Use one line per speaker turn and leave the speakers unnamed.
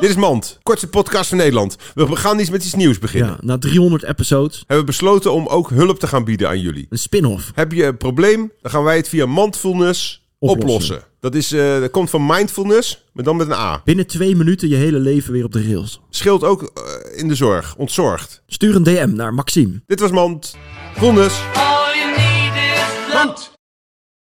Dit is Mand, kortste podcast van Nederland. We gaan iets met iets nieuws beginnen.
Ja, na 300 episodes.
Hebben we besloten om ook hulp te gaan bieden aan jullie.
Een spin-off.
Heb je een probleem, dan gaan wij het via Mindfulness oplossen.
Oplossen.
Dat, is, eh, dat komt van Mindfulness, maar dan met een A.
Binnen twee minuten je hele leven weer op de rails.
Scheelt ook eh, in de zorg, ontzorgd.
Stuur een DM naar Maxime.
Dit was Mand. Vonnis.
All you need is love.